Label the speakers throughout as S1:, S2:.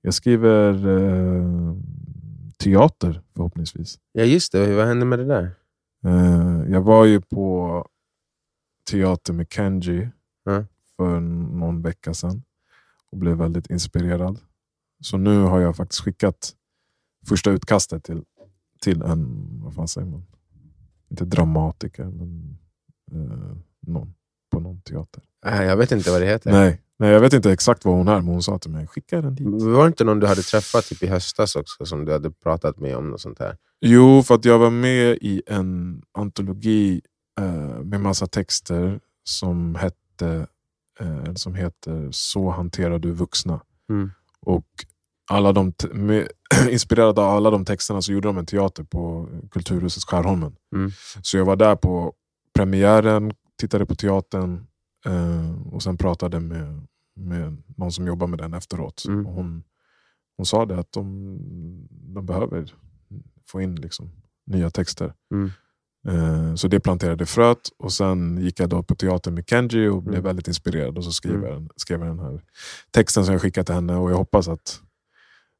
S1: Jag skriver eh, teater förhoppningsvis.
S2: Ja, just det. Vad hände med det där?
S1: Eh, jag var ju på teater med Kenji
S2: Mm.
S1: för någon vecka sedan och blev väldigt inspirerad. Så nu har jag faktiskt skickat första utkastet till, till en, vad fan säger man? Inte dramatiker, men eh, någon på någon teater.
S2: Ah, jag vet inte vad det heter.
S1: Nej, nej, jag vet inte exakt vad hon är, men hon sa till mig skicka den dit.
S2: Var det inte någon du hade träffat typ i höstas också som du hade pratat med om något sånt här?
S1: Jo, för att jag var med i en antologi eh, med massa texter som hette eh, eller som heter Så hanterar du vuxna.
S2: Mm.
S1: Och alla de te- med, inspirerade av alla de texterna så gjorde de en teater på Kulturhuset Skärholmen.
S2: Mm.
S1: Så jag var där på premiären, tittade på teatern eh, och sen pratade med, med någon som jobbar med den efteråt.
S2: Mm.
S1: Och hon, hon sa det att de, de behöver få in liksom, nya texter.
S2: Mm.
S1: Eh, Så det planterade fröet och sen gick jag då på teatern med Kenji och blev väldigt inspirerad och så skrev,
S2: Mm.
S1: jag, den- skrev jag den här texten som jag skickat till henne och jag hoppas att...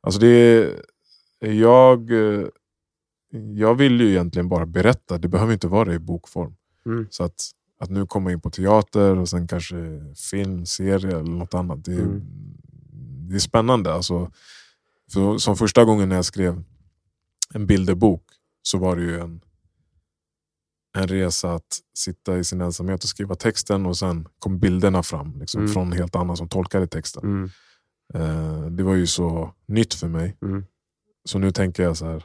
S1: Alltså det är, jag, eh, jag vill ju egentligen bara berätta, det behöver inte vara i bokform.
S2: Mm.
S1: Så att, att nu komma in på teater och sen kanske film, serie eller något annat, det är,
S2: Mm.
S1: det är spännande. Alltså, för, som första gången när jag skrev en bilderbok så var det ju en, en resa att sitta i sin ensamhet och skriva texten och sen kom bilderna fram liksom,
S2: Mm.
S1: från helt annan som tolkade texten.
S2: Mm.
S1: Eh, det var ju så nytt för mig.
S2: Mm.
S1: Så nu tänker jag så här,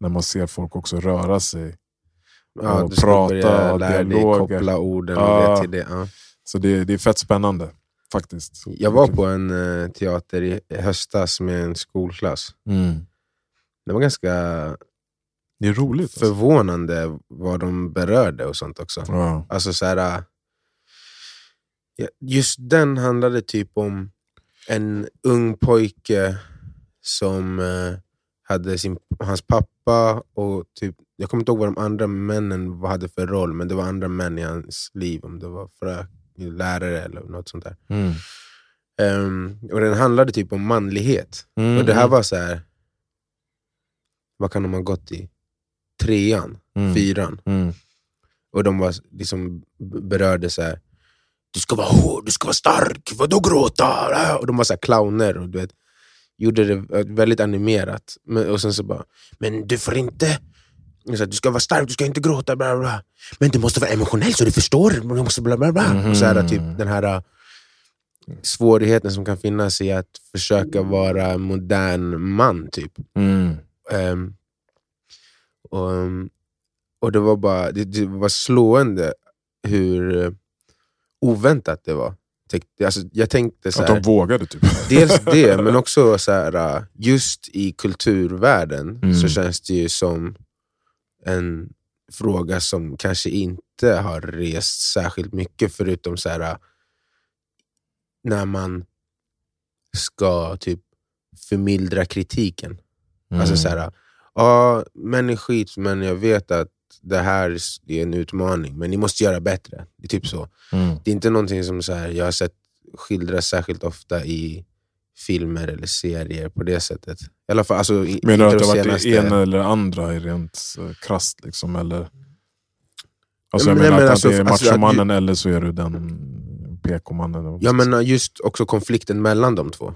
S1: när man ser folk också röra sig.
S2: Ja,
S1: Och
S2: du ska
S1: prata
S2: börja
S1: och
S2: lära dig
S1: dialoger.
S2: koppla orden och
S1: Ja.
S2: det till det. Ja.
S1: Så det, det är fett spännande faktiskt.
S2: Jag var på en eh, teater i i höstas med en skolklass.
S1: Mm.
S2: Det var ganska
S1: Det är roligt. Alltså.
S2: förvånande vad de berörde och sånt också.
S1: Ja.
S2: Alltså så här, äh, ja, just den handlade typ om en ung pojke som eh, hade sin, hans pappa och typ, jag kommer inte ihåg vad de andra männen vad hade för roll, men det var andra män i hans liv. Om det var frö, lärare eller något sånt där.
S1: Mm.
S2: Ehm, och den handlade typ om manlighet.
S1: Mm.
S2: Och det här var så här. vad kan de ha gått i? Trean,
S1: mm.
S2: fyran.
S1: Mm.
S2: Och de var liksom b- berörde så här. Du ska vara hård, du ska vara stark, vadå gråta? Äh, Och de var så här clowner och du vet, gjorde det eh, väldigt animerat. Men, och sen så bara, men du får inte... och Så här, du ska vara stark, du ska inte gråta, bla bla, bla. Men du måste vara emotionell så du förstår. Du måste bla bla bla. Och så här,
S1: Mhm.
S2: typ, den här eh, svårigheten som kan finnas i att försöka vara en modern man. typ
S1: Mm.
S2: Ehm, och, och det var bara det, det var slående hur eh, oväntat det var. Tänk- Alltså, jag tänkte så
S1: Att de
S2: här, Alltså
S1: vågade typ.
S2: dels det, men också så här, eh, just i kulturvärlden
S1: Mm.
S2: så känns det ju som en fråga som kanske inte har rest särskilt mycket, förutom så här, eh, när man ska typ förmildra kritiken.
S1: Mm.
S2: Alltså så här, ja, män är skit, men jag vet att det här är en utmaning, men ni måste göra bättre. Det är typ så.
S1: Mm.
S2: Det är inte någonting som så här, jag har sett skildras särskilt ofta i filmer eller serier på det sättet. I alla fall, alltså, i-
S1: Menar du
S2: inte
S1: att det
S2: de
S1: har varit
S2: senaste-
S1: det ena eller det andra är rent eh, krasst? Liksom, eller? Alltså,
S2: Ja,
S1: jag
S2: men-
S1: menar
S2: nej, men
S1: att
S2: alltså,
S1: det är
S2: alltså, att ju-
S1: machomannen eller så är du den PK-mannen. eller vad
S2: Ja,
S1: man ska
S2: men eh, just också konflikten mellan de två.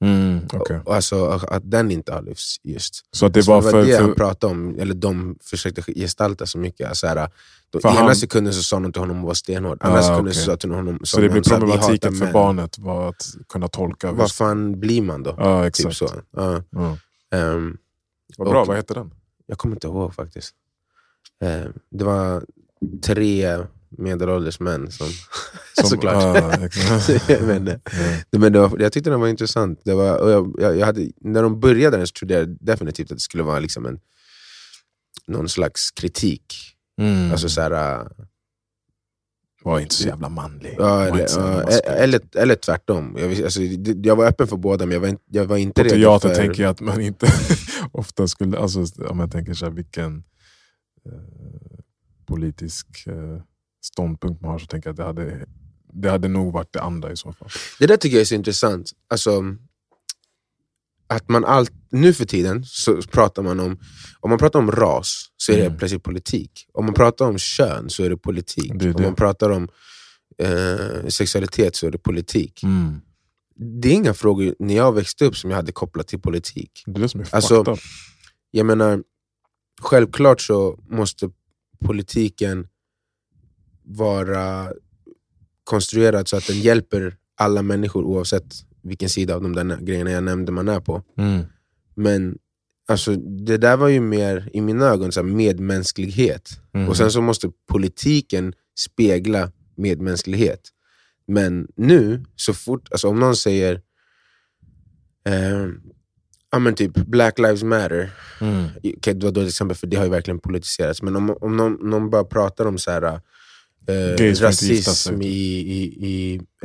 S1: säga. Mm, okej.
S2: Och- Alltså, att den inte har lyfts just.
S1: Så att det
S2: Så
S1: var
S2: Alltså, det var
S1: för...
S2: det han
S1: för
S2: pratade om, eller de försökte gestalta så mycket. Så här, då,
S1: För
S2: ena
S1: han-
S2: sekunden så sa någon till honom att vara stenhård, andra
S1: Ah,
S2: sekunden
S1: okej.
S2: så sa till honom sa
S1: så det
S2: någon
S1: blir
S2: så här, "Vi hatar
S1: problematiken för
S2: män."
S1: barnet var att kunna tolka. hur-
S2: Vad fan blir man då?
S1: Ja,
S2: typ
S1: exakt.
S2: så. Ja.
S1: Ja.
S2: Ehm,
S1: Vad bra,
S2: Och-
S1: vad heter den?
S2: jag kommer inte ihåg faktiskt. Ehm, det var tre medelålders män som... Såklart.
S1: ja, exakt.
S2: Men, eh,
S1: Ja.
S2: Men det var, jag tyckte den var intressant. Det var, och jag, jag, jag hade, när de började den så trodde jag definitivt att det skulle vara liksom en, någon slags kritik.
S1: Mm.
S2: Alltså så här, äh,
S1: var inte så jävla manlig.
S2: Ja,
S1: Var
S2: eller,
S1: inte så jävla
S2: ja, e-
S1: maskulin.
S2: eller,
S1: liksom.
S2: eller tvärtom. Jag, vis- alltså, det- jag var öppen för båda, men jag var, in, jag var inte
S1: På
S2: redo
S1: teater
S2: typ för...
S1: tänker jag att man inte ofta skulle... Alltså, om jag tänker så här, vilken eh, politisk eh, ståndpunkt man har så tänker jag att det hade, det hade nog varit det andra i så fall.
S2: Det där tycker jag är så intressant. Alltså, att man allt, nu för tiden så pratar man om, om man pratar om ras så är det
S1: Mm.
S2: plötsligt politik. Om man pratar om kön så är det politik.
S1: Det är
S2: Om
S1: det.
S2: man pratar om eh, sexualitet så är det politik.
S1: Mm.
S2: Det är inga frågor när jag växte upp som jag hade kopplat till politik.
S1: Det är det som är
S2: Alltså,
S1: fucked up.
S2: Jag menar, självklart så måste politiken vara konstruerad så att den hjälper alla människor oavsett vilken sida av de där nä- grejerna jag nämnde man är på.
S1: Mm.
S2: Men alltså, det där var ju mer, i mina ögon, så här, medmänsklighet.
S1: Mm.
S2: Och sen så måste politiken spegla medmänsklighet. Men nu, så fort, alltså om någon säger eh, ja, men typ Black Lives Matter,
S1: Mm.
S2: okay, det var då ett exempel för det har ju verkligen politiserats, men om, om någon, någon bara pratar om så här, eh,
S1: Gays får inte gifta
S2: rasism
S1: sig.
S2: i, i,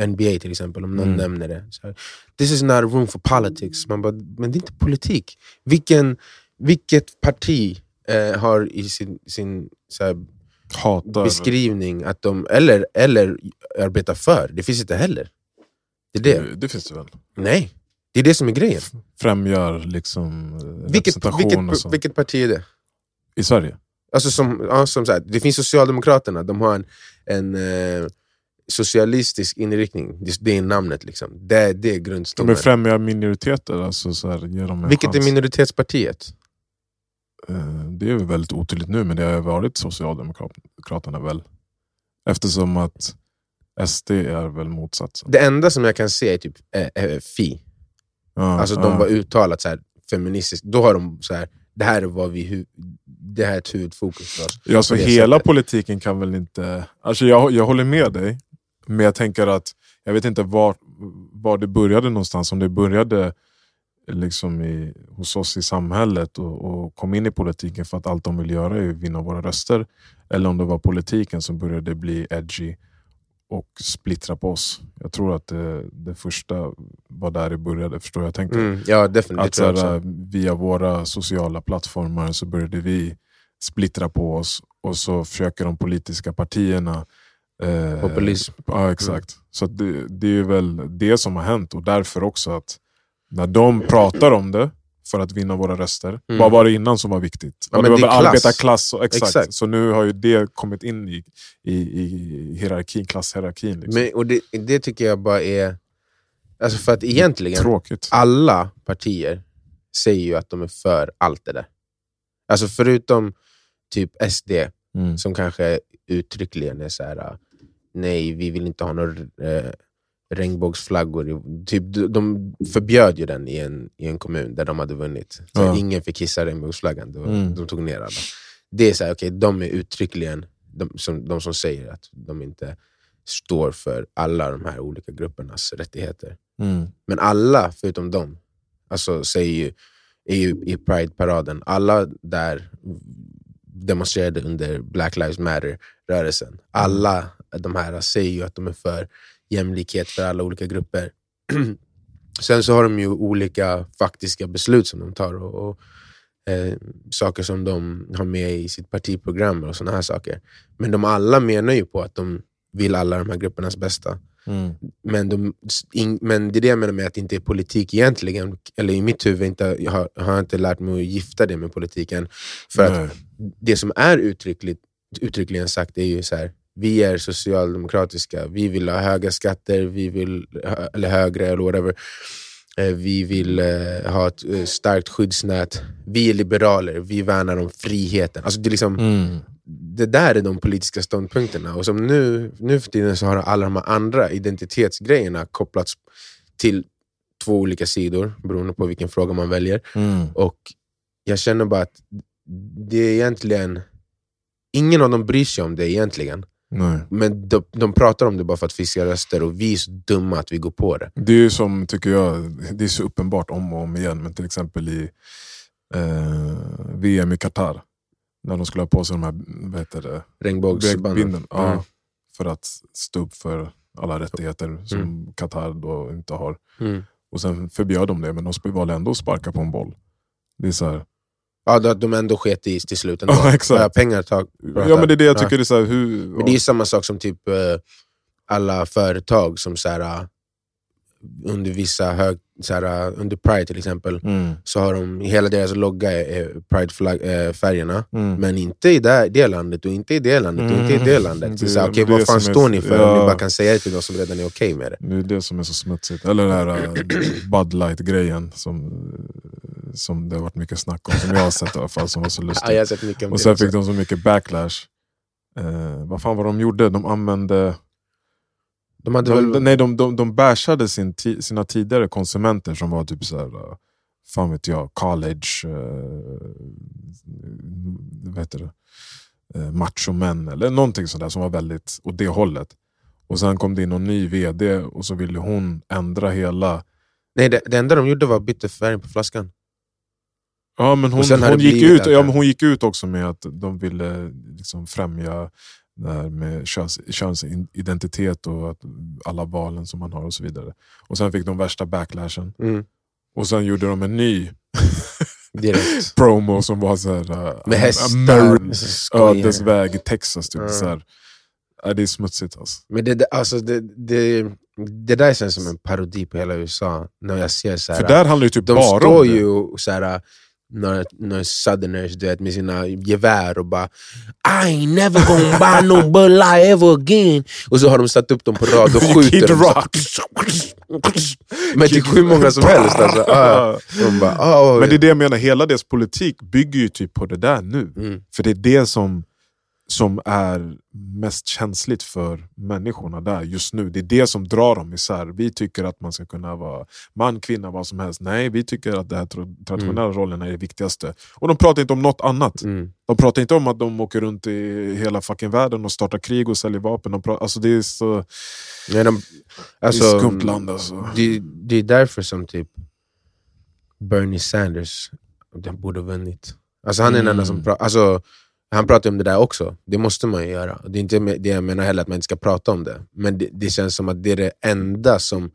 S2: i NBA till exempel, om någon
S1: Mm.
S2: nämner det. Så här, This is not a room for politics. Man bara, men det är inte politik. Vilken, vilket parti eh, har i sin, sin så här,
S1: Hatar.
S2: beskrivning att de, eller, eller arbetar för. Det finns inte heller. Det är det.
S1: det finns det väl.
S2: Nej, det är det som är grejen.
S1: Främjar liksom eh,
S2: Vilket,
S1: representation och
S2: vilket,
S1: sånt.
S2: vilket parti är det?
S1: I Sverige?
S2: Alltså som, ja, som sagt, det finns Socialdemokraterna, de har en, en eh, socialistisk inriktning. Det, det är namnet. liksom. Det, det är
S1: De
S2: grundstommen.
S1: men främjar minoriteter, alltså så här, ger dem en
S2: Vilket är
S1: chans.
S2: minoritetspartiet?
S1: Eh, Det är väl väldigt otydligt nu, men det har ju varit Socialdemokraterna väl? Eftersom att SD är väl motsatsen.
S2: Det enda som jag kan se är typ eh, eh, Fi.
S1: Ja,
S2: Alltså
S1: ja.
S2: de var uttalat så här, feministiskt. Då har de så här, det här är vad vi, hu- det här är ett huvudfokus för oss.
S1: Ja, så
S2: på det
S1: hela
S2: sättet.
S1: politiken kan väl inte... Alltså jag, jag håller med dig, men jag tänker att jag vet inte var, var det började någonstans. Om det började liksom i, hos oss i samhället och, och kom in i politiken för att allt de vill göra är att vinna våra röster. Eller om det var politiken som började bli edgy och splittra på oss. Jag tror att det, det första var där det började, förstår jag tänker.
S2: Mm, ja, definitivt.
S1: Att
S2: tror jag också.
S1: såhär, via våra sociala plattformar så började vi splittra på oss och så försöker de politiska partierna... Eh,
S2: Populism. Mm.
S1: Ja, exakt. Så att det, det är väl det som har hänt och därför också att när de pratar om det för att vinna våra röster,
S2: Mm.
S1: vad var det innan som var viktigt?
S2: Ja,
S1: Och
S2: men
S1: det var
S2: det är
S1: väl
S2: klass.
S1: arbetarklass? Och, exakt.
S2: Exakt.
S1: Så nu har ju det kommit in i, i, i hierarkin, klasshierarkin. Liksom.
S2: Men, och det, det tycker jag bara är... Alltså för att egentligen,
S1: Tråkigt.
S2: alla partier säger ju att de är för allt det där. Alltså förutom typ SD,
S1: Mm.
S2: som kanske uttryckligen är så här. äh, nej vi vill inte ha några eh, regnbågsflaggor. i- Typ, de- de förbjöd ju den i en, i en kommun där de hade vunnit. Så
S1: Ja.
S2: Ingen fick hissa regnbågsflaggan, de,
S1: Mm.
S2: de tog ner alla. Det är så här, okej, de är uttryckligen de som, de som säger att de inte står för alla de här olika gruppernas rättigheter.
S1: Mm.
S2: Men alla förutom dem alltså, säger ju, är ju i Pride-paraden, alla där demonstrerade under Black Lives Matter-rörelsen. Alla de här säger ju att de är för jämlikhet för alla olika grupper. Sen så har de ju olika faktiska beslut som de tar och, och eh, saker som de har med i sitt partiprogram och sådana här saker. Men de alla menar ju på att de vill alla de här gruppernas bästa.
S1: Mm.
S2: Men, de, in, men det är det jag menar med att det inte är politik egentligen. Eller i mitt huvud inte, jag har, har jag inte lärt mig att gifta det med politiken. För att
S1: Nej.
S2: det som är uttryckligt, uttryckligen sagt är ju så här. vi är socialdemokratiska, vi vill ha höga skatter, vi vill, hö- eller högre eller whatever. Eh, Vi vill eh, ha ett eh, starkt skyddsnät. Vi är liberaler, vi värnar om friheten. Alltså det, är liksom,
S1: Mm.
S2: det där är de politiska ståndpunkterna. Och som nu, nu för tiden så har alla de här andra identitetsgrejerna kopplats till två olika sidor beroende på vilken fråga man väljer.
S1: Mm.
S2: Och jag känner bara att det är egentligen... Ingen av dem bryr sig om det egentligen.
S1: Nej.
S2: Men de, de pratar om det bara för att fiska röster och vi är så dumma att vi går på det.
S1: Det är ju som, tycker jag, det är så uppenbart om och om igen. Men till exempel i eh, VM i Qatar. När de skulle ha på sig de här vad heter det,
S2: Regnbågsbanden.
S1: binden, ja,
S2: Mm.
S1: För att stå upp för alla rättigheter som Qatar då inte har.
S2: Mm.
S1: Och sen förbjöd de det, men de sp- valde ändå att sparka på en boll. Det är så här,
S2: Ja, då- att de ändå sket i till slut ändå.
S1: Ja, exakt.
S2: Ja, pengar tag,
S1: ja, men det är det jag
S2: Ja.
S1: tycker. Det är så här, hur,
S2: Men det är ju samma sak som typ eh, alla företag som så här, eh, under vissa hög, så här, eh, under Pride till exempel,
S1: Mm.
S2: så har de, hela deras logga är- är Pride-färgerna.
S1: Mm.
S2: Men inte i det, det landet och inte i det landet och inte i det
S1: Mm.
S2: landet. Så
S1: Det-
S2: så här, Okej,
S1: det
S2: vad
S1: är
S2: fan
S1: som är-
S2: står ni för om ni
S1: ja.
S2: bara kan säga det till de som redan är okej med det?
S1: Det är det som är så smutsigt. Eller den här eh, Bud Light-grejen som, eh, som det har varit mycket snack om. Som jag har sett i alla fall, som var så
S2: Ja,
S1: lustig.
S2: jag har sett mycket om
S1: Och
S2: det
S1: sen
S2: också.
S1: fick de så mycket backlash. Eh, vad fan var de gjorde? De använde...
S2: de hade
S1: De,
S2: väl...
S1: nej, de, de, de bashade sin ti, sina tidigare konsumenter som var typ så här, eh, fan vet jag, college, eh, vad heter det? Eh, machomän eller någonting sånt där som var väldigt åt det hållet. Och sen kom det in någon ny vd och så ville hon ändra hela...
S2: Nej, det, det enda de gjorde var att byta färgen på flaskan.
S1: Ja, men hon,
S2: Och sen har
S1: hon,
S2: det
S1: gick
S2: blivit
S1: ut,
S2: det.
S1: ja, men hon gick ut också med att de ville liksom främja det här med köns, könsidentitet och att alla valen som man har och så vidare. Och sen fick de värsta backlashen.
S2: Mm.
S1: Och sen gjorde de en ny
S2: Direkt.
S1: promo som var så här, uh,
S2: Med
S1: American
S2: hästar. Skojar.
S1: ödets väg i Texas. Typ.
S2: Ja.
S1: Så här. Ja, det är smutsigt alltså.
S2: Men det, det- alltså, det, det, det där känns som en parodi på hela USA. När jag ser så här,
S1: För där handlar det ju typ
S2: de
S1: bara
S2: står
S1: om
S2: ju och så här, några, några southerners du vet, med sina gevär och bara I ain't never gonna buy no Bud Light ever again. Och så har de satt upp dem på rad och skjuter
S1: Kid
S2: dem. så här.
S1: Rock.
S2: Men det är hur många som helst. Alltså. Ja. De bara, "Ah,
S1: Men det är det jag menar, hela deras politik bygger ju typ på det där nu.
S2: mm.
S1: För det är det som, som är mest känsligt för människorna där just nu. Det är det som drar dem isär. Vi tycker att man ska kunna vara man, kvinna, vad som helst. Nej, vi tycker att den här tra- traditionella rollen är det viktigaste. Och de pratar inte om något annat.
S2: Mm.
S1: De pratar inte om att de åker runt i hela fucking världen och startar krig och säljer vapen. De pratar, alltså det är så
S2: Nej, de,
S1: det är
S2: alltså,
S1: ett skumt land. Alltså.
S2: Det, det är därför som typ Bernie Sanders den borde ha vunnit. Alltså han är den enda som
S1: Mm.
S2: pratar... Alltså, han pratar om det där också. Det måste man ju göra. Det är inte me- det jag menar heller, att man inte ska prata om det. Men det, det känns som att det är det enda som...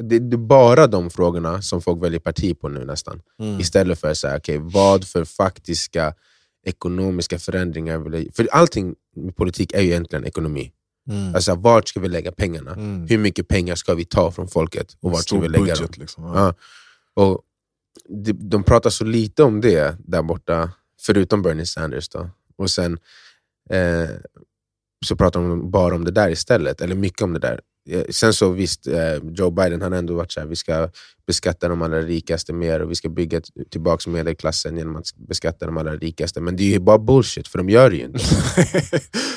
S2: Det, det är bara de frågorna som folk väljer parti på nu nästan.
S1: Mm.
S2: Istället för så här, okej, vad för faktiska ekonomiska förändringar vill jag... För allting med politik är ju egentligen ekonomi.
S1: Mm.
S2: Alltså vart ska vi lägga pengarna?
S1: Mm.
S2: hur mycket pengar ska vi ta från folket och vart ska
S1: Stor
S2: vi lägga dem?
S1: budget, liksom.
S2: Ja. Och de, de pratar så lite om det där borta, förutom Bernie Sanders. Då. Och sen eh, så pratar de bara om det där istället, eller mycket om det där. Eh, Sen så visst, eh, Joe Biden han har ändå varit så här, vi ska beskatta de allra rikaste mer och vi ska bygga t- tillbaka medelklassen genom att beskatta de allra rikaste. Men det är ju bara bullshit, för de gör det ju inte.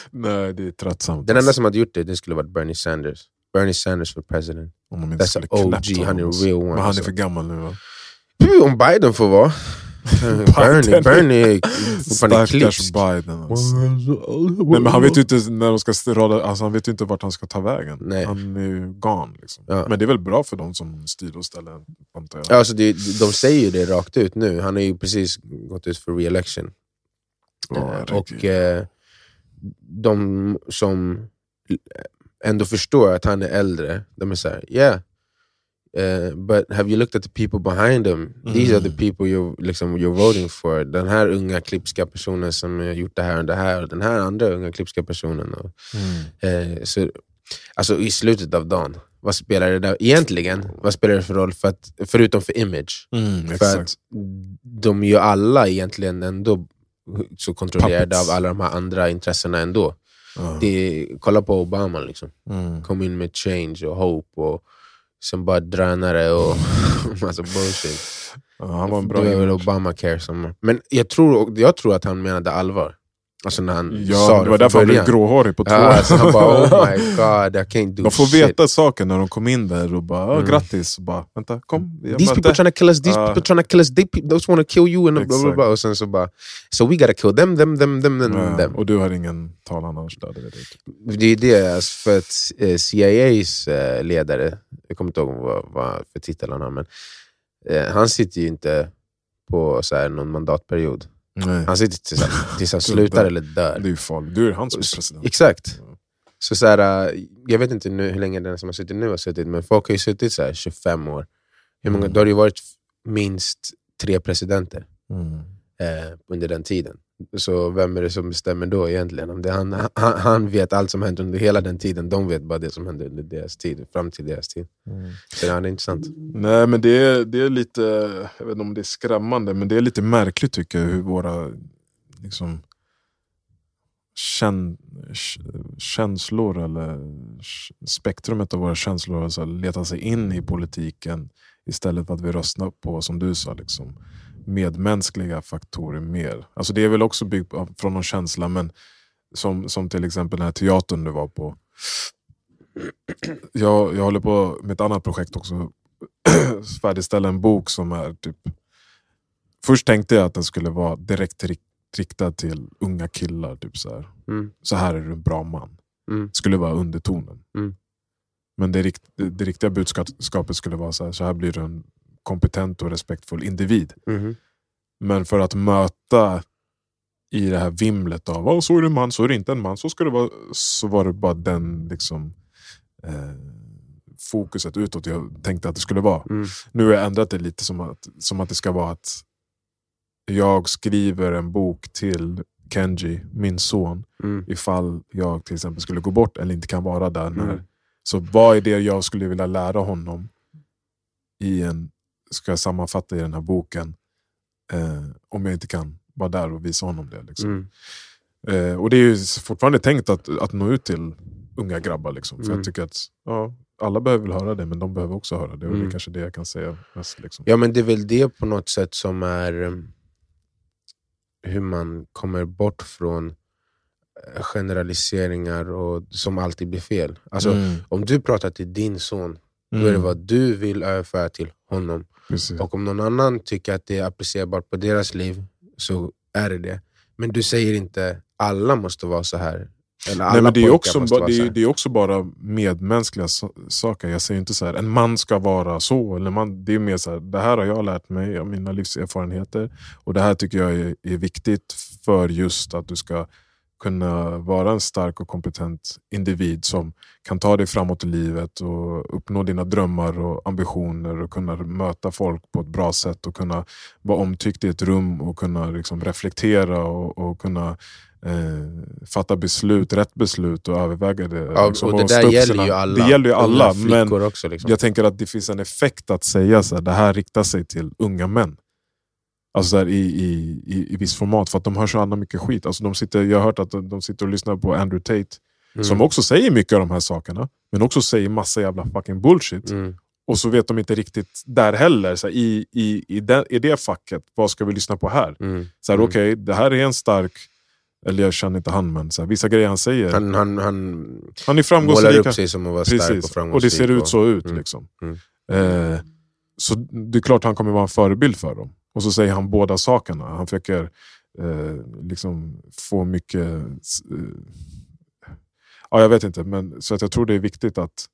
S1: Nej, det är tröttsamt.
S2: Den enda
S1: alltså.
S2: som hade gjort det, det skulle varit Bernie Sanders. Bernie Sanders for president.
S1: Om de inte
S2: That's
S1: skulle
S2: an OG,
S1: knäppt
S2: han
S1: honom,
S2: är
S1: alltså.
S2: real one.
S1: Men han är
S2: alltså.
S1: för gammal nu va?
S2: Puh, Om Biden får vara. Bernie,
S1: Biden.
S2: Bernie är fortfarande
S1: Stackars
S2: klipsk.
S1: Biden. Alltså. Nej, men han vet ju inte när de ska rada, alltså, han vet ju inte vart han ska ta vägen.
S2: Nej.
S1: Han är ju gone. Liksom.
S2: Ja.
S1: Men det är väl bra för de som styr och ställer, antar jag.
S2: Alltså, det, de säger ju det rakt ut nu. Han har ju precis gått ut för re-election.
S1: Ja,
S2: Eh, och
S1: herregud.
S2: eh, de som ändå förstår att han är äldre, de är såhär, yeah. eh, but have you looked at the people behind them? These are the
S1: Mm.
S2: people you're, liksom, you're voting for. Den här unga klipska personen som har gjort det här och det här, och den här andra unga klipska personen. Och,
S1: Mm.
S2: Eh, så, alltså i slutet av dagen, vad spelar det där egentligen? Vad spelar det för roll? För att, förutom för image.
S1: Mm,
S2: För
S1: exakt.
S2: att de är ju alla egentligen ändå så kontrollerade
S1: Puppets. Mm.
S2: av alla de här andra intressena ändå.
S1: Ja.
S2: Det är, kolla på Obama, liksom.
S1: Mm.
S2: kom in med change och hope och sen bara drönare och massa bullshit.
S1: Ja, han var en bra
S2: det var väl
S1: image.
S2: Obamacare som... Men jag tror, jag tror att han menade allvar. Alltså när han sa
S1: Ja,
S2: det,
S1: det var
S2: från
S1: därför han blev
S2: början.
S1: gråhårig på två
S2: Ja, alltså han bara oh my god, I can't do
S1: De får
S2: shit.
S1: veta saker när de kom in där och bara "Ja,
S2: Mm.
S1: grattis. Och bara, Vänta, kom. vi har
S2: These people
S1: möte."
S2: trying to kill us, these
S1: Ja.
S2: people trying to kill us, they pe- those want to kill you. And blah, blah,
S1: Exakt.
S2: blah. Och sen så bara, so we gotta kill them, them, them, them, them,
S1: Ja,
S2: them.
S1: Och du har ingen talan annars. Där, det vet jag inte.
S2: Det är ju det, alltså, för att eh, CIAs eh, ledare, jag kommer inte ihåg vad, vad för titel han har, men eh, han sitter ju inte på så här, någon mandatperiod.
S1: Nej.
S2: Han sitter tills han, tills han slutar eller
S1: Det
S2: dör.
S1: är ju farligt. Du är han som är president.
S2: Exakt.
S1: Ja.
S2: Så, så här, äh, jag vet inte nu, hur länge den som har suttit nu har suttit, men folk har ju suttit så här 25 år. Hur många,
S1: Mm.
S2: Då har det ju varit minst tre presidenter.
S1: Mm.
S2: eh, under den tiden. Så vem är det som bestämmer då egentligen? Om det är han, han, han vet allt som hände under hela den tiden. De vet bara det som hände under deras tid, fram till deras tid.
S1: Mm.
S2: Så ja, det är intressant.
S1: Nej, men det är, det är lite, jag vet inte om det är skrämmande, men det är lite märkligt tycker jag hur våra liksom, kän, k- känslor eller k- spektrumet av våra känslor har så här letat sig in i politiken istället för att vi röstar på, som du sa, liksom, medmänskliga faktorer mer. Alltså det är väl också byggt av- från någon känsla, men som, som till exempel den här teatern du var på. Jag, jag håller på med ett annat projekt också, färdigställa en bok som är typ... Först tänkte jag att den skulle vara direkt rik- riktad till unga killar. Typ så, här.
S2: Mm,
S1: så här är du en bra man.
S2: mm,
S1: skulle vara undertonen.
S2: Mm.
S1: Men det, rikt, det, det riktiga budskapet skulle vara så här, så här blir du en kompetent och respektfull individ.
S2: mhm,
S1: Men för att möta i det här vimlet av "Åh, så är du en man, så är du inte en man, så ska det vara. Så var det bara den liksom, eh, fokuset utåt jag tänkte att det skulle vara.
S2: mm,
S1: Nu har jag ändrat det lite som att, som att det ska vara att jag skriver en bok till Kenji, min son,
S2: mm,
S1: ifall jag till exempel skulle gå bort eller inte kan vara där. När,
S2: Mm.
S1: Så vad är det jag skulle vilja lära honom i en, ska jag sammanfatta i den här boken, eh, om jag inte kan vara där och visa honom det. Liksom.
S2: mm,
S1: Eh, och det är ju fortfarande tänkt att, att nå ut till unga grabbar. Liksom. För
S2: Mm.
S1: jag tycker att ja, alla behöver väl höra det, men de behöver också höra det. Och det
S2: Mm.
S1: är kanske det jag kan säga mest. Liksom.
S2: Ja, men det är väl det på något sätt som är eh, hur man kommer bort från eh, generaliseringar och, som alltid blir fel. Alltså,
S1: Mm.
S2: Om du pratar till din son, då är det
S1: Mm.
S2: vad du vill överföra till honom.
S1: Precis.
S2: Och om någon annan tycker att det är applicerbart på deras liv, så är det det. Men du säger inte alla måste vara så här. Eller alla
S1: Nej, men det är
S2: pojkar
S1: också,
S2: måste
S1: ba,
S2: vara
S1: det
S2: så
S1: är,
S2: här.
S1: det är också bara medmänskliga so- saker. Jag säger inte så här, en man ska vara så. Eller man, det är mer så här, det här har jag lärt mig av mina livserfarenheter. Och det här tycker jag är, är viktigt för just att du ska kunna vara en stark och kompetent individ som kan ta dig framåt i livet och uppnå dina drömmar och ambitioner och kunna möta folk på ett bra sätt och kunna vara omtyckt i ett rum och kunna liksom reflektera och, och kunna eh, fatta beslut, rätt beslut och överväga det.
S2: Ja,
S1: liksom,
S2: och det
S1: stå upp
S2: där
S1: för
S2: gäller
S1: sina-
S2: ju alla.
S1: Det gäller ju
S2: Unga
S1: alla, men
S2: flickor också. Liksom.
S1: jag tänker att det finns en effekt att säga så här, det här riktar sig till unga män. Alltså så här, i, i, i, i viss format, för att de hör så andra mycket skit. Alltså de sitter, jag har hört att de, de sitter och lyssnar på Andrew Tate,
S2: Mm.
S1: som också säger mycket av de här sakerna, men också säger massa jävla fucking bullshit.
S2: Mm.
S1: Och så vet de inte riktigt där heller, så här, i, i, i, den, i det facket, vad ska vi lyssna på här?
S2: Mm.
S1: Så här,
S2: Mm.
S1: Okej, det här är en stark... Eller jag känner inte han, men så här, vissa grejer han säger. Han,
S2: Han, han, han
S1: är framgångsrik.
S2: målar upp
S1: han-
S2: sig som att vara stark och
S1: Precis,
S2: framgångsrik.
S1: och det ser ut så ut.
S2: Mm.
S1: Liksom.
S2: Mm.
S1: Eh, så det är klart han kommer vara en förebild för dem. Och så säger han båda sakerna. Han försöker eh, liksom få mycket... Eh, ja, jag vet inte, men så att jag tror det är viktigt att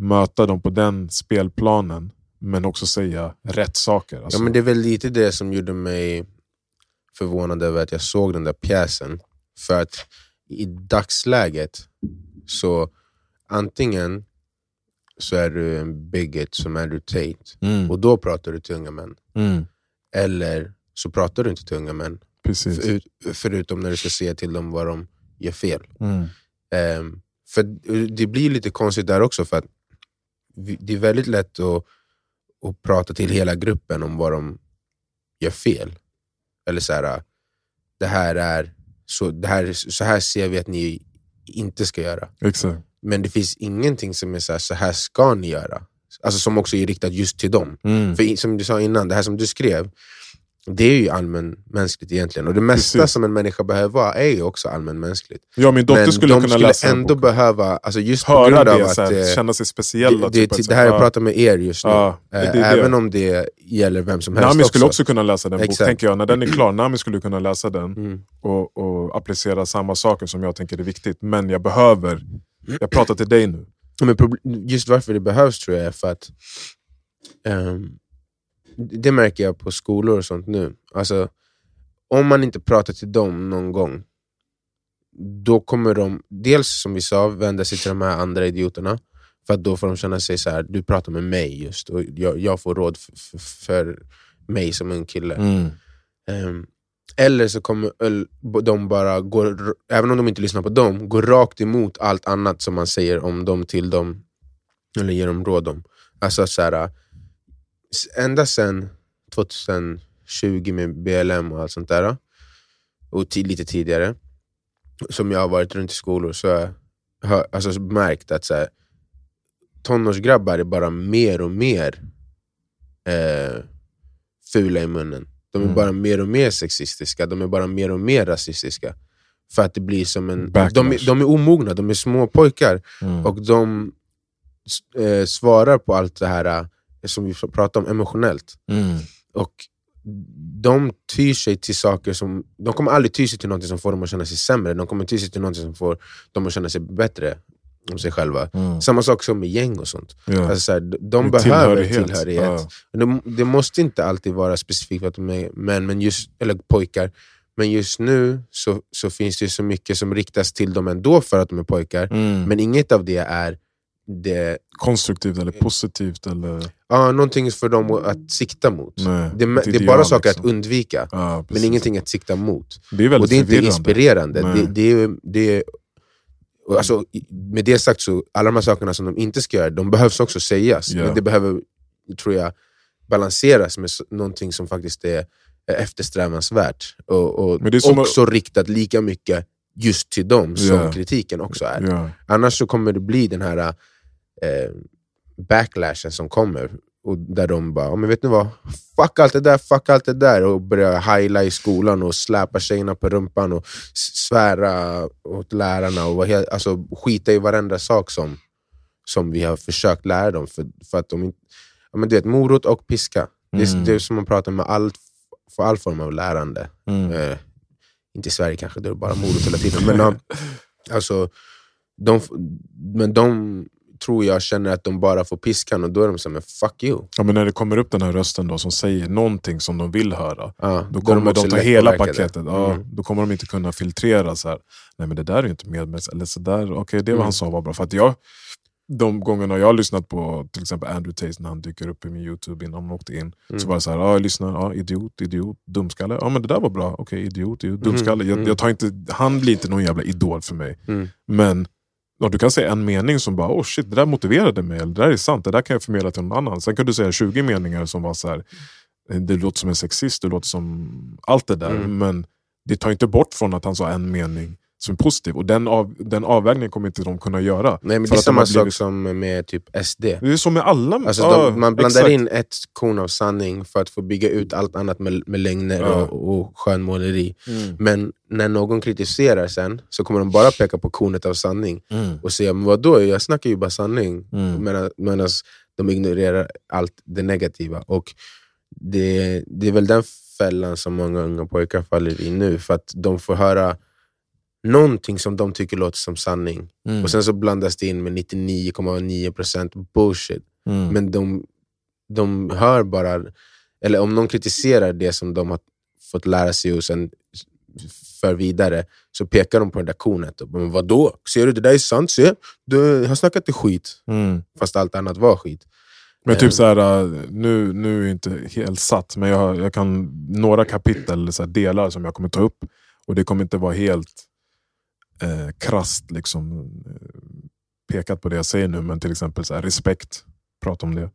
S1: möta dem på den spelplanen, men också säga rätt saker. Alltså,
S2: Ja, men det är väl lite det som gjorde mig förvånad över att jag såg den där pjäsen. För att i dagsläget så antingen så är du en bigot som Andrew Tate
S1: mm,
S2: och då pratar du till unga män.
S1: mm,
S2: Eller så pratar du inte till unga män,
S1: precis.
S2: förut, förutom när du ska säga till dem vad de gör fel.
S1: Mm,
S2: Ehm, för det blir lite konstigt där också, för att vi- det är väldigt lätt att, att prata till hela gruppen om vad de gör fel. Eller så här, äh, det här är så, det här, så här ser vi att ni inte ska göra.
S1: exakt.
S2: Men det finns ingenting som är så här, så här ska ni göra. Alltså som också är riktat just till dem.
S1: Mm,
S2: För i- som du sa innan, det här som du skrev, det är ju allmänmänskligt egentligen. Och det mesta
S1: Precis.
S2: som en människa behöver vara är ju också allmänmänskligt
S1: ja, min dotter
S2: men
S1: skulle
S2: de
S1: kunna
S2: skulle
S1: läsa den
S2: ändå
S1: boken.
S2: behöva, alltså just på
S1: höra
S2: grund av
S1: det,
S2: att...
S1: så här,
S2: eh,
S1: känna sig speciella.
S2: det, det,
S1: typ, att
S2: det,
S1: så
S2: det här
S1: ja.
S2: jag pratar med er just nu,
S1: Ja, det,
S2: eh,
S1: det, är
S2: även
S1: det.
S2: om det gäller vem som helst
S1: Nami skulle
S2: också.
S1: också kunna läsa den boken,
S2: Exakt.
S1: tänker jag. När den är klar, Nami skulle kunna läsa den
S2: Mm.
S1: och, och applicera samma saker som jag tänker är viktigt. Men jag behöver... Jag pratar till dig nu.
S2: Men proble- just varför det behövs tror jag är för att ehm, det märker jag på skolor och sånt nu. Alltså, om man inte pratar till dem någon gång, då kommer de, dels som vi sa, vända sig till de här andra idioterna. För att då får de känna sig så här: du pratar
S1: Mm.
S2: med mig just och jag, jag får råd f- f- för mig som ung kille. Ehm, eller så kommer öl- de bara, gå, r- även om de inte lyssnar på dem, gå rakt emot allt annat som man säger om dem till dem, eller ger dem råd om. Alltså så här, s- ända sen 2020 med BLM och allt sånt där, och ti- lite tidigare, som jag har varit runt i skolor, så har jag hör- alltså, så märkt att så här, tonårsgrabbar är bara mer och mer eh, fula i munnen. De är
S1: Mm.
S2: bara mer och mer sexistiska, de är bara mer och mer rasistiska. För att det blir som en...
S1: Backlash.
S2: De, är- de är omogna, de är små pojkar.
S1: Mm.
S2: Och de s- eh, svarar på allt det här eh, som vi pratar om emotionellt.
S1: Mm.
S2: Och de tyr sig till saker som... De kommer aldrig ty sig till något som får dem att känna sig sämre. De kommer ty sig till något som får dem att känna sig bättre om sig själva.
S1: Mm.
S2: Samma sak som med gäng och sånt.
S1: Ja.
S2: Alltså så här, de- de
S1: En
S2: behöver
S1: tillhörighet.
S2: tillhörighet.
S1: Ja.
S2: Men de- Det måste inte alltid vara specifikt för att de är män, men just, eller pojkar. Men just nu så, så finns det ju så mycket som riktas till dem ändå för att de är pojkar.
S1: Mm.
S2: Men inget av det är det,
S1: Konstruktivt eller positivt. Eller...
S2: ja, någonting för dem att sikta mot.
S1: Nej,
S2: Det,
S1: ett
S2: det är bara
S1: ideal,
S2: saker
S1: liksom.
S2: att undvika,
S1: Ja,
S2: men
S1: precis.
S2: ingenting att sikta mot.
S1: Det är
S2: Och
S1: väldigt
S2: det är inte
S1: förvirrande.
S2: inspirerande.
S1: Nej.
S2: Det, det är, ju- det är, och alltså, i- med det sagt, så alla de här sakerna som de inte ska göra, de behövs också sägas.
S1: Ja.
S2: Men det behöver, tror jag, balanseras med s- någonting som faktiskt är är eftersträvansvärt. Och, och
S1: Men det är som
S2: också riktat lika mycket just till dem som
S1: Ja.
S2: kritiken också är.
S1: Ja.
S2: Annars så kommer det bli den här eh, backlashen som kommer. Och där de bara, "Ja, men vet ni vad? Fuck allt det där, fuck allt det där. Och börjar heila i skolan och släpa tjejerna på rumpan och s- svära åt lärarna. Och vara helt, alltså, skita i varenda sak som, som vi har försökt lära dem. För, för att de inte, ja, men du vet, morot och piska. Det, är,
S1: Mm.
S2: det är som man pratar med all, för all form av lärande.
S1: Mm.
S2: Eh, inte i Sverige kanske, då är det bara morot hela tiden. Men, ja, alltså, de, f- men de tror jag känner att de bara får piskan och då är de såhär, men fuck you.
S1: Ja, men när det kommer upp den här rösten då, som säger någonting som de vill höra,
S2: Ja,
S1: då kommer de,
S2: också
S1: ta hela
S2: lättpåverkade.
S1: paketet. Ja,
S2: Mm.
S1: Då kommer de inte kunna filtrera. så här. Nej, men det där är ju inte medmänskligt. Eller så där, okej, det var
S2: Mm.
S1: han sa var bra. För att jag, de gångerna jag har lyssnat på till exempel Andrew Tate när han dyker upp i min YouTube innan han åkte in,
S2: Mm.
S1: så var det så här, ja, jag lyssnar, ja, idiot, idiot, dumskalle. Ja, men det där var bra. Okej, idiot, idiot, dumskalle.
S2: Mm.
S1: Jag, jag tar inte, han blir inte någon jävla idol för mig.
S2: Mm.
S1: Men ja, du kan säga en mening som bara, oh shit, det där motiverade mig. Eller det där är sant, det där kan jag förmedla till någon annan. Sen kan du säga 20 meningar som var så här, du låter som en sexist, du låter som allt det där.
S2: Mm.
S1: Men det tar inte bort från att han sa en mening som är positiv. Och den, av, den avvägningen kommer inte de kunna göra.
S2: Nej, men
S1: För
S2: det är
S1: att de har
S2: samma
S1: blivit-
S2: sak som med typ SD.
S1: Det är så med alla.
S2: Alltså
S1: Ja,
S2: de, man blandar
S1: exakt.
S2: in ett korn av sanning för att få bygga ut allt annat med, med lögner
S1: Ja.
S2: och, och skönmåleri.
S1: Mm.
S2: Men när någon kritiserar sen så kommer de bara peka på kornet av sanning
S1: Mm.
S2: och säga, men vadå, jag snackar ju bara sanning.
S1: Mm.
S2: Medan de ignorerar allt det negativa. Och det, det är väl den fällan som många unga pojkar faller i nu, för att de får höra någonting som de tycker låter som sanning.
S1: Mm.
S2: Och sen så blandas det in med 99,9% bullshit.
S1: Mm.
S2: Men de, de hör bara, eller om någon kritiserar det som de har fått lära sig och sen för vidare, så pekar de på det där kornet. Och, bara, men vadå? Ser du, det där är sant. Se, du har snackat i skit
S1: Mm.
S2: fast allt annat var skit.
S1: Men
S2: Eh,
S1: typ så här, äh, nu, nu är jag inte helt satt, men jag, har- jag kan några kapitel, eller så här, delar som jag kommer ta upp. Och det kommer inte vara helt eh, krasst liksom, eh, pekat på det jag säger nu, men till exempel så här, respekt, prata om det.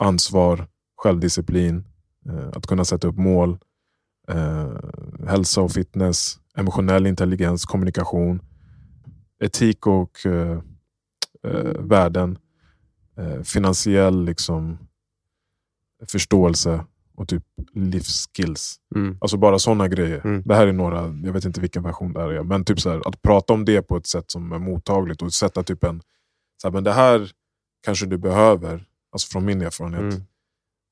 S1: Ansvar, självdisciplin, eh, att kunna sätta upp mål, eh, hälsa och fitness, emotionell intelligens, kommunikation, etik och eh, eh, värden eh, finansiell liksom, förståelse och typ livsskills.
S2: Mm.
S1: Alltså bara sådana grejer.
S2: Mm.
S1: Det här är några, jag vet inte vilken version det här är, men typ så här, att prata om det på ett sätt som är mottagligt och sätta typ en, så här, men det här kanske du behöver, alltså från min erfarenhet,
S2: Mm.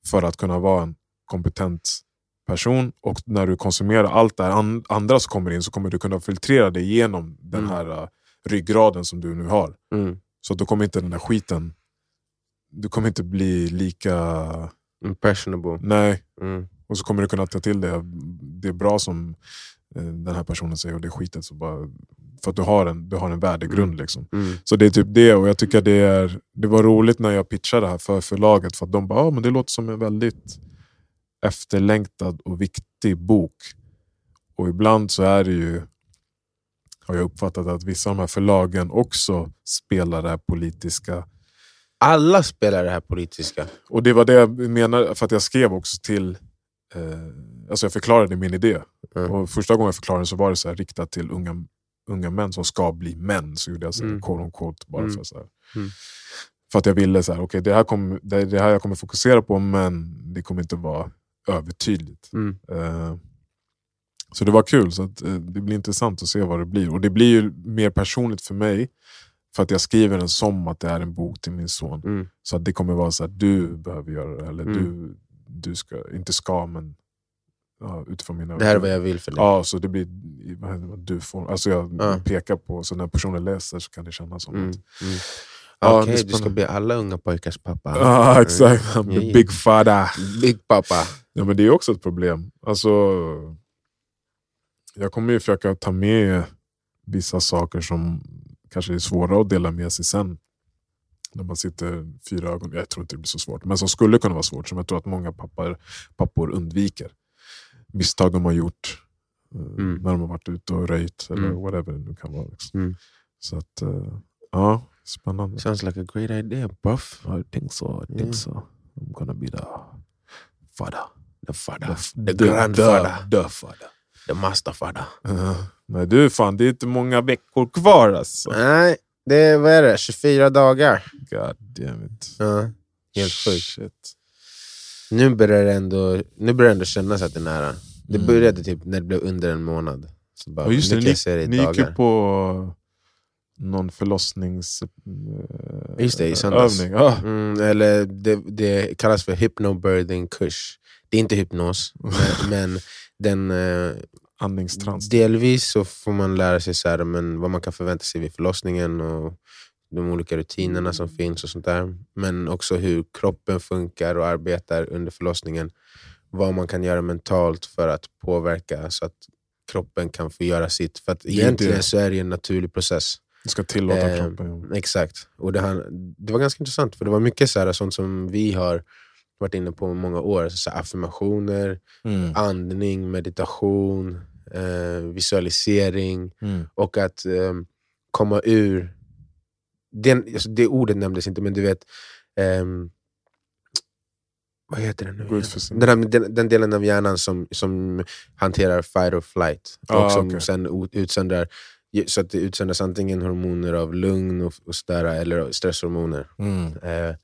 S1: för att kunna vara en kompetent person. Och när du konsumerar allt det här an- andra som kommer in så kommer du kunna filtrera det genom den
S2: Mm.
S1: här eh, ryggraden som du nu har.
S2: Mm.
S1: Så då kommer inte den där skiten... Du kommer inte bli lika...
S2: Impressionable.
S1: Nej.
S2: Mm.
S1: Och så kommer du kunna ta till det, det är bra som eh, den här personen säger och det skitet. Så bara, för att du har en, du har en värdegrund. Liksom.
S2: Mm.
S1: Så det är typ det. Och jag tycker det, är, det var roligt när jag pitchade det här för förlaget. För att de bara, ah, men det låter som en väldigt efterlängtad och viktig bok. Och ibland så är det ju, har jag uppfattat att vissa av de här förlagen också spelar det här politiska.
S2: Alla spelar det här politiska.
S1: Och det var det jag menade, för att jag skrev också till, eh, alltså jag förklarade min idé. Eh,
S2: Mm.
S1: Och första gången jag förklarade den så var det så här, riktat till unga, unga män som ska bli män. Så gjorde jag så här,
S2: Mm.
S1: quote on quote, bara
S2: Mm.
S1: för, så här.
S2: Mm.
S1: för att jag ville så här, okej, det, här kommer- det, det här jag kommer fokusera på, men det kommer inte vara övertydligt.
S2: Mm.
S1: Eh, så det var kul. Så att, eh, det blir intressant att se vad det blir. Och det blir ju mer personligt för mig, för att jag skriver den som att det är en bok till min son.
S2: Mm.
S1: Så att det kommer vara så att du behöver göra det. Eller
S2: Mm.
S1: du, du ska, inte ska, men ja, utifrån mina
S2: Det här är vad jag vill för dig.
S1: Ja, så det blir vad heter det, du får, alltså jag
S2: Ja.
S1: pekar på, så när personen läser så kan det kännas som
S2: Mm.
S1: att...
S2: Mm.
S1: Ja,
S2: Okej,
S1: det är
S2: du ska
S1: spännande.
S2: bli alla unga pojkars pappa.
S1: Ah, exakt, I'm
S2: Ja, ja.
S1: the big father.
S2: Big pappa.
S1: Ja, men det är också ett problem. Alltså, jag kommer ju försöka ta med vissa saker som kanske är svåra att dela med sig sen. När man sitter fyra ögon, jag tror inte det blir så svårt, men som skulle kunna vara svårt, som jag tror att många pappor, pappor undviker. Misstag de har gjort eh,
S2: Mm.
S1: när de har varit ute och röjt eller
S2: Mm.
S1: whatever det nu kan vara. Liksom.
S2: Mm.
S1: Så att, eh, ja, spännande.
S2: Sounds like a great idea, buff.
S1: I think so, I
S2: think
S1: so. I'm gonna be the father.
S2: The father.
S1: The,
S2: grandfather.
S1: The, the father.
S2: The master father. Uh-huh.
S1: Eh, nej du fan, det är inte många veckor kvar alltså.
S2: Nej, det är, vad är det? 24 dagar.
S1: God damn it.
S2: Ja, helt sjukt.
S1: Shit.
S2: Nu börjar det ändå, nu börjar det ändå kännas att det är nära. Det
S1: Mm.
S2: började typ när det blev under en månad. Så bara,
S1: Ja, just
S2: nu
S1: det,
S2: kan jag se det i
S1: Ni gick ju
S2: dagar.
S1: på eh, någon förlossnings... eh,
S2: Just det, i söndags.
S1: Övning. Ah.
S2: Mm, eller det, det kallas för hypnobirthing kurs. Det är inte hypnos, men, men den, eh,
S1: Andningstrans.
S2: delvis så får man lära sig så här, men vad man kan förvänta sig vid förlossningen och de olika rutinerna
S1: Mm.
S2: som finns och sånt där. Men också hur kroppen funkar och arbetar under förlossningen. Vad man kan göra mentalt för att påverka så att kroppen kan få göra sitt. För att
S1: är
S2: egentligen
S1: det.
S2: så är det ju en naturlig process.
S1: Du ska tillåta
S2: Eh,
S1: kroppen. Mm.
S2: Exakt. Och det, här, det var ganska intressant, för det var mycket så här, sånt som vi har varit inne på i många år. Så här, affirmationer,
S1: Mm.
S2: andning, meditation, eh, visualisering
S1: Mm.
S2: och att eh, komma ur... Den, alltså det ordet nämndes inte, men du vet... ehm, vad heter det nu?
S1: Gå
S2: igen?
S1: ut för sin...
S2: Den, här, den, den delen av hjärnan som, som hanterar fight or flight
S1: Ah,
S2: och som
S1: okej.
S2: sen o- utsöndrar så att det utsöndras antingen hormoner av lugn och, och sådär, eller stresshormoner.
S1: Mm.
S2: Eh,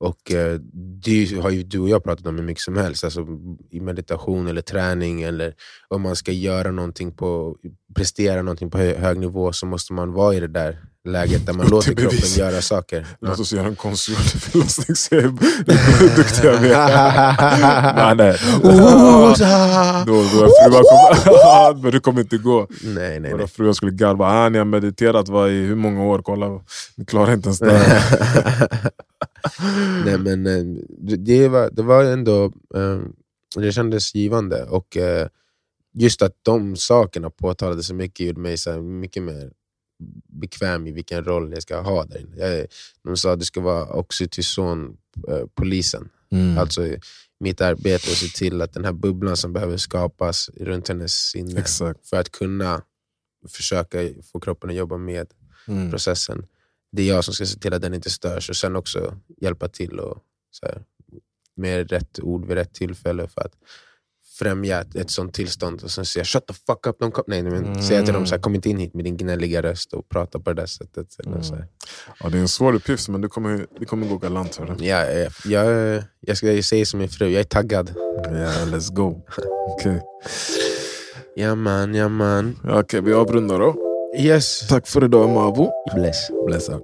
S2: och eh, Det är ju- har ju du och jag pratat om hur mycket som helst, alltså i meditation eller träning, eller om man ska göra någonting på, prestera någonting på hö- hög nivå så måste man vara i det där läget där man
S1: Upp till
S2: låter kroppen
S1: bevis.
S2: göra saker.
S1: Låt oss göra en konstgjord förlossningsserie. Hur duktiga vi är. nej, nej.
S2: Oh, Ah.
S1: Då, våra fruar kommer... Men det kommer inte gå.
S2: nej, nej,
S1: Våra
S2: nej.
S1: fruar skulle garva. Ah, ni har mediterat va, i hur många år? Kolla, ni klarar inte ens det här.
S2: Eh. Nej, men eh, det- det var, det var ändå... eh, Det kändes givande. Och eh, just att de sakerna påtalade så mycket gjorde mig så här mycket mer bekväm i vilken roll jag ska ha där inne. Jag, de sa att du ska vara oxytocin-polisen.
S1: Mm.
S2: Alltså i mitt arbete och se till att den här bubblan som behöver skapas runt hennes sinne
S1: Exakt.
S2: för att kunna försöka få kroppen att jobba med
S1: Mm.
S2: processen. Det är jag som ska se till att den inte störs och sen också hjälpa till och så här, med rätt ord vid rätt tillfälle för att främja ett, ett sånt tillstånd och sen säga shut the fuck up, de kom. Nej, nej, men
S1: Mm.
S2: säga till dem så här, kom inte in hit med din gnälliga röst och prata på det där sättet. Eller så här.
S1: Mm. Ja, det är en svår uppgift, men det kommer, det kommer gå galant. Hörru.
S2: Ja, ja, jag, jag ska säga som min fru, jag är taggad.
S1: Yeah, let's go. Okej,
S2: Ja man, ja man.
S1: Ja, okej, vi avrundar då.
S2: Yes.
S1: Tack för idag, Mavo.
S2: Bless.
S1: Bless up.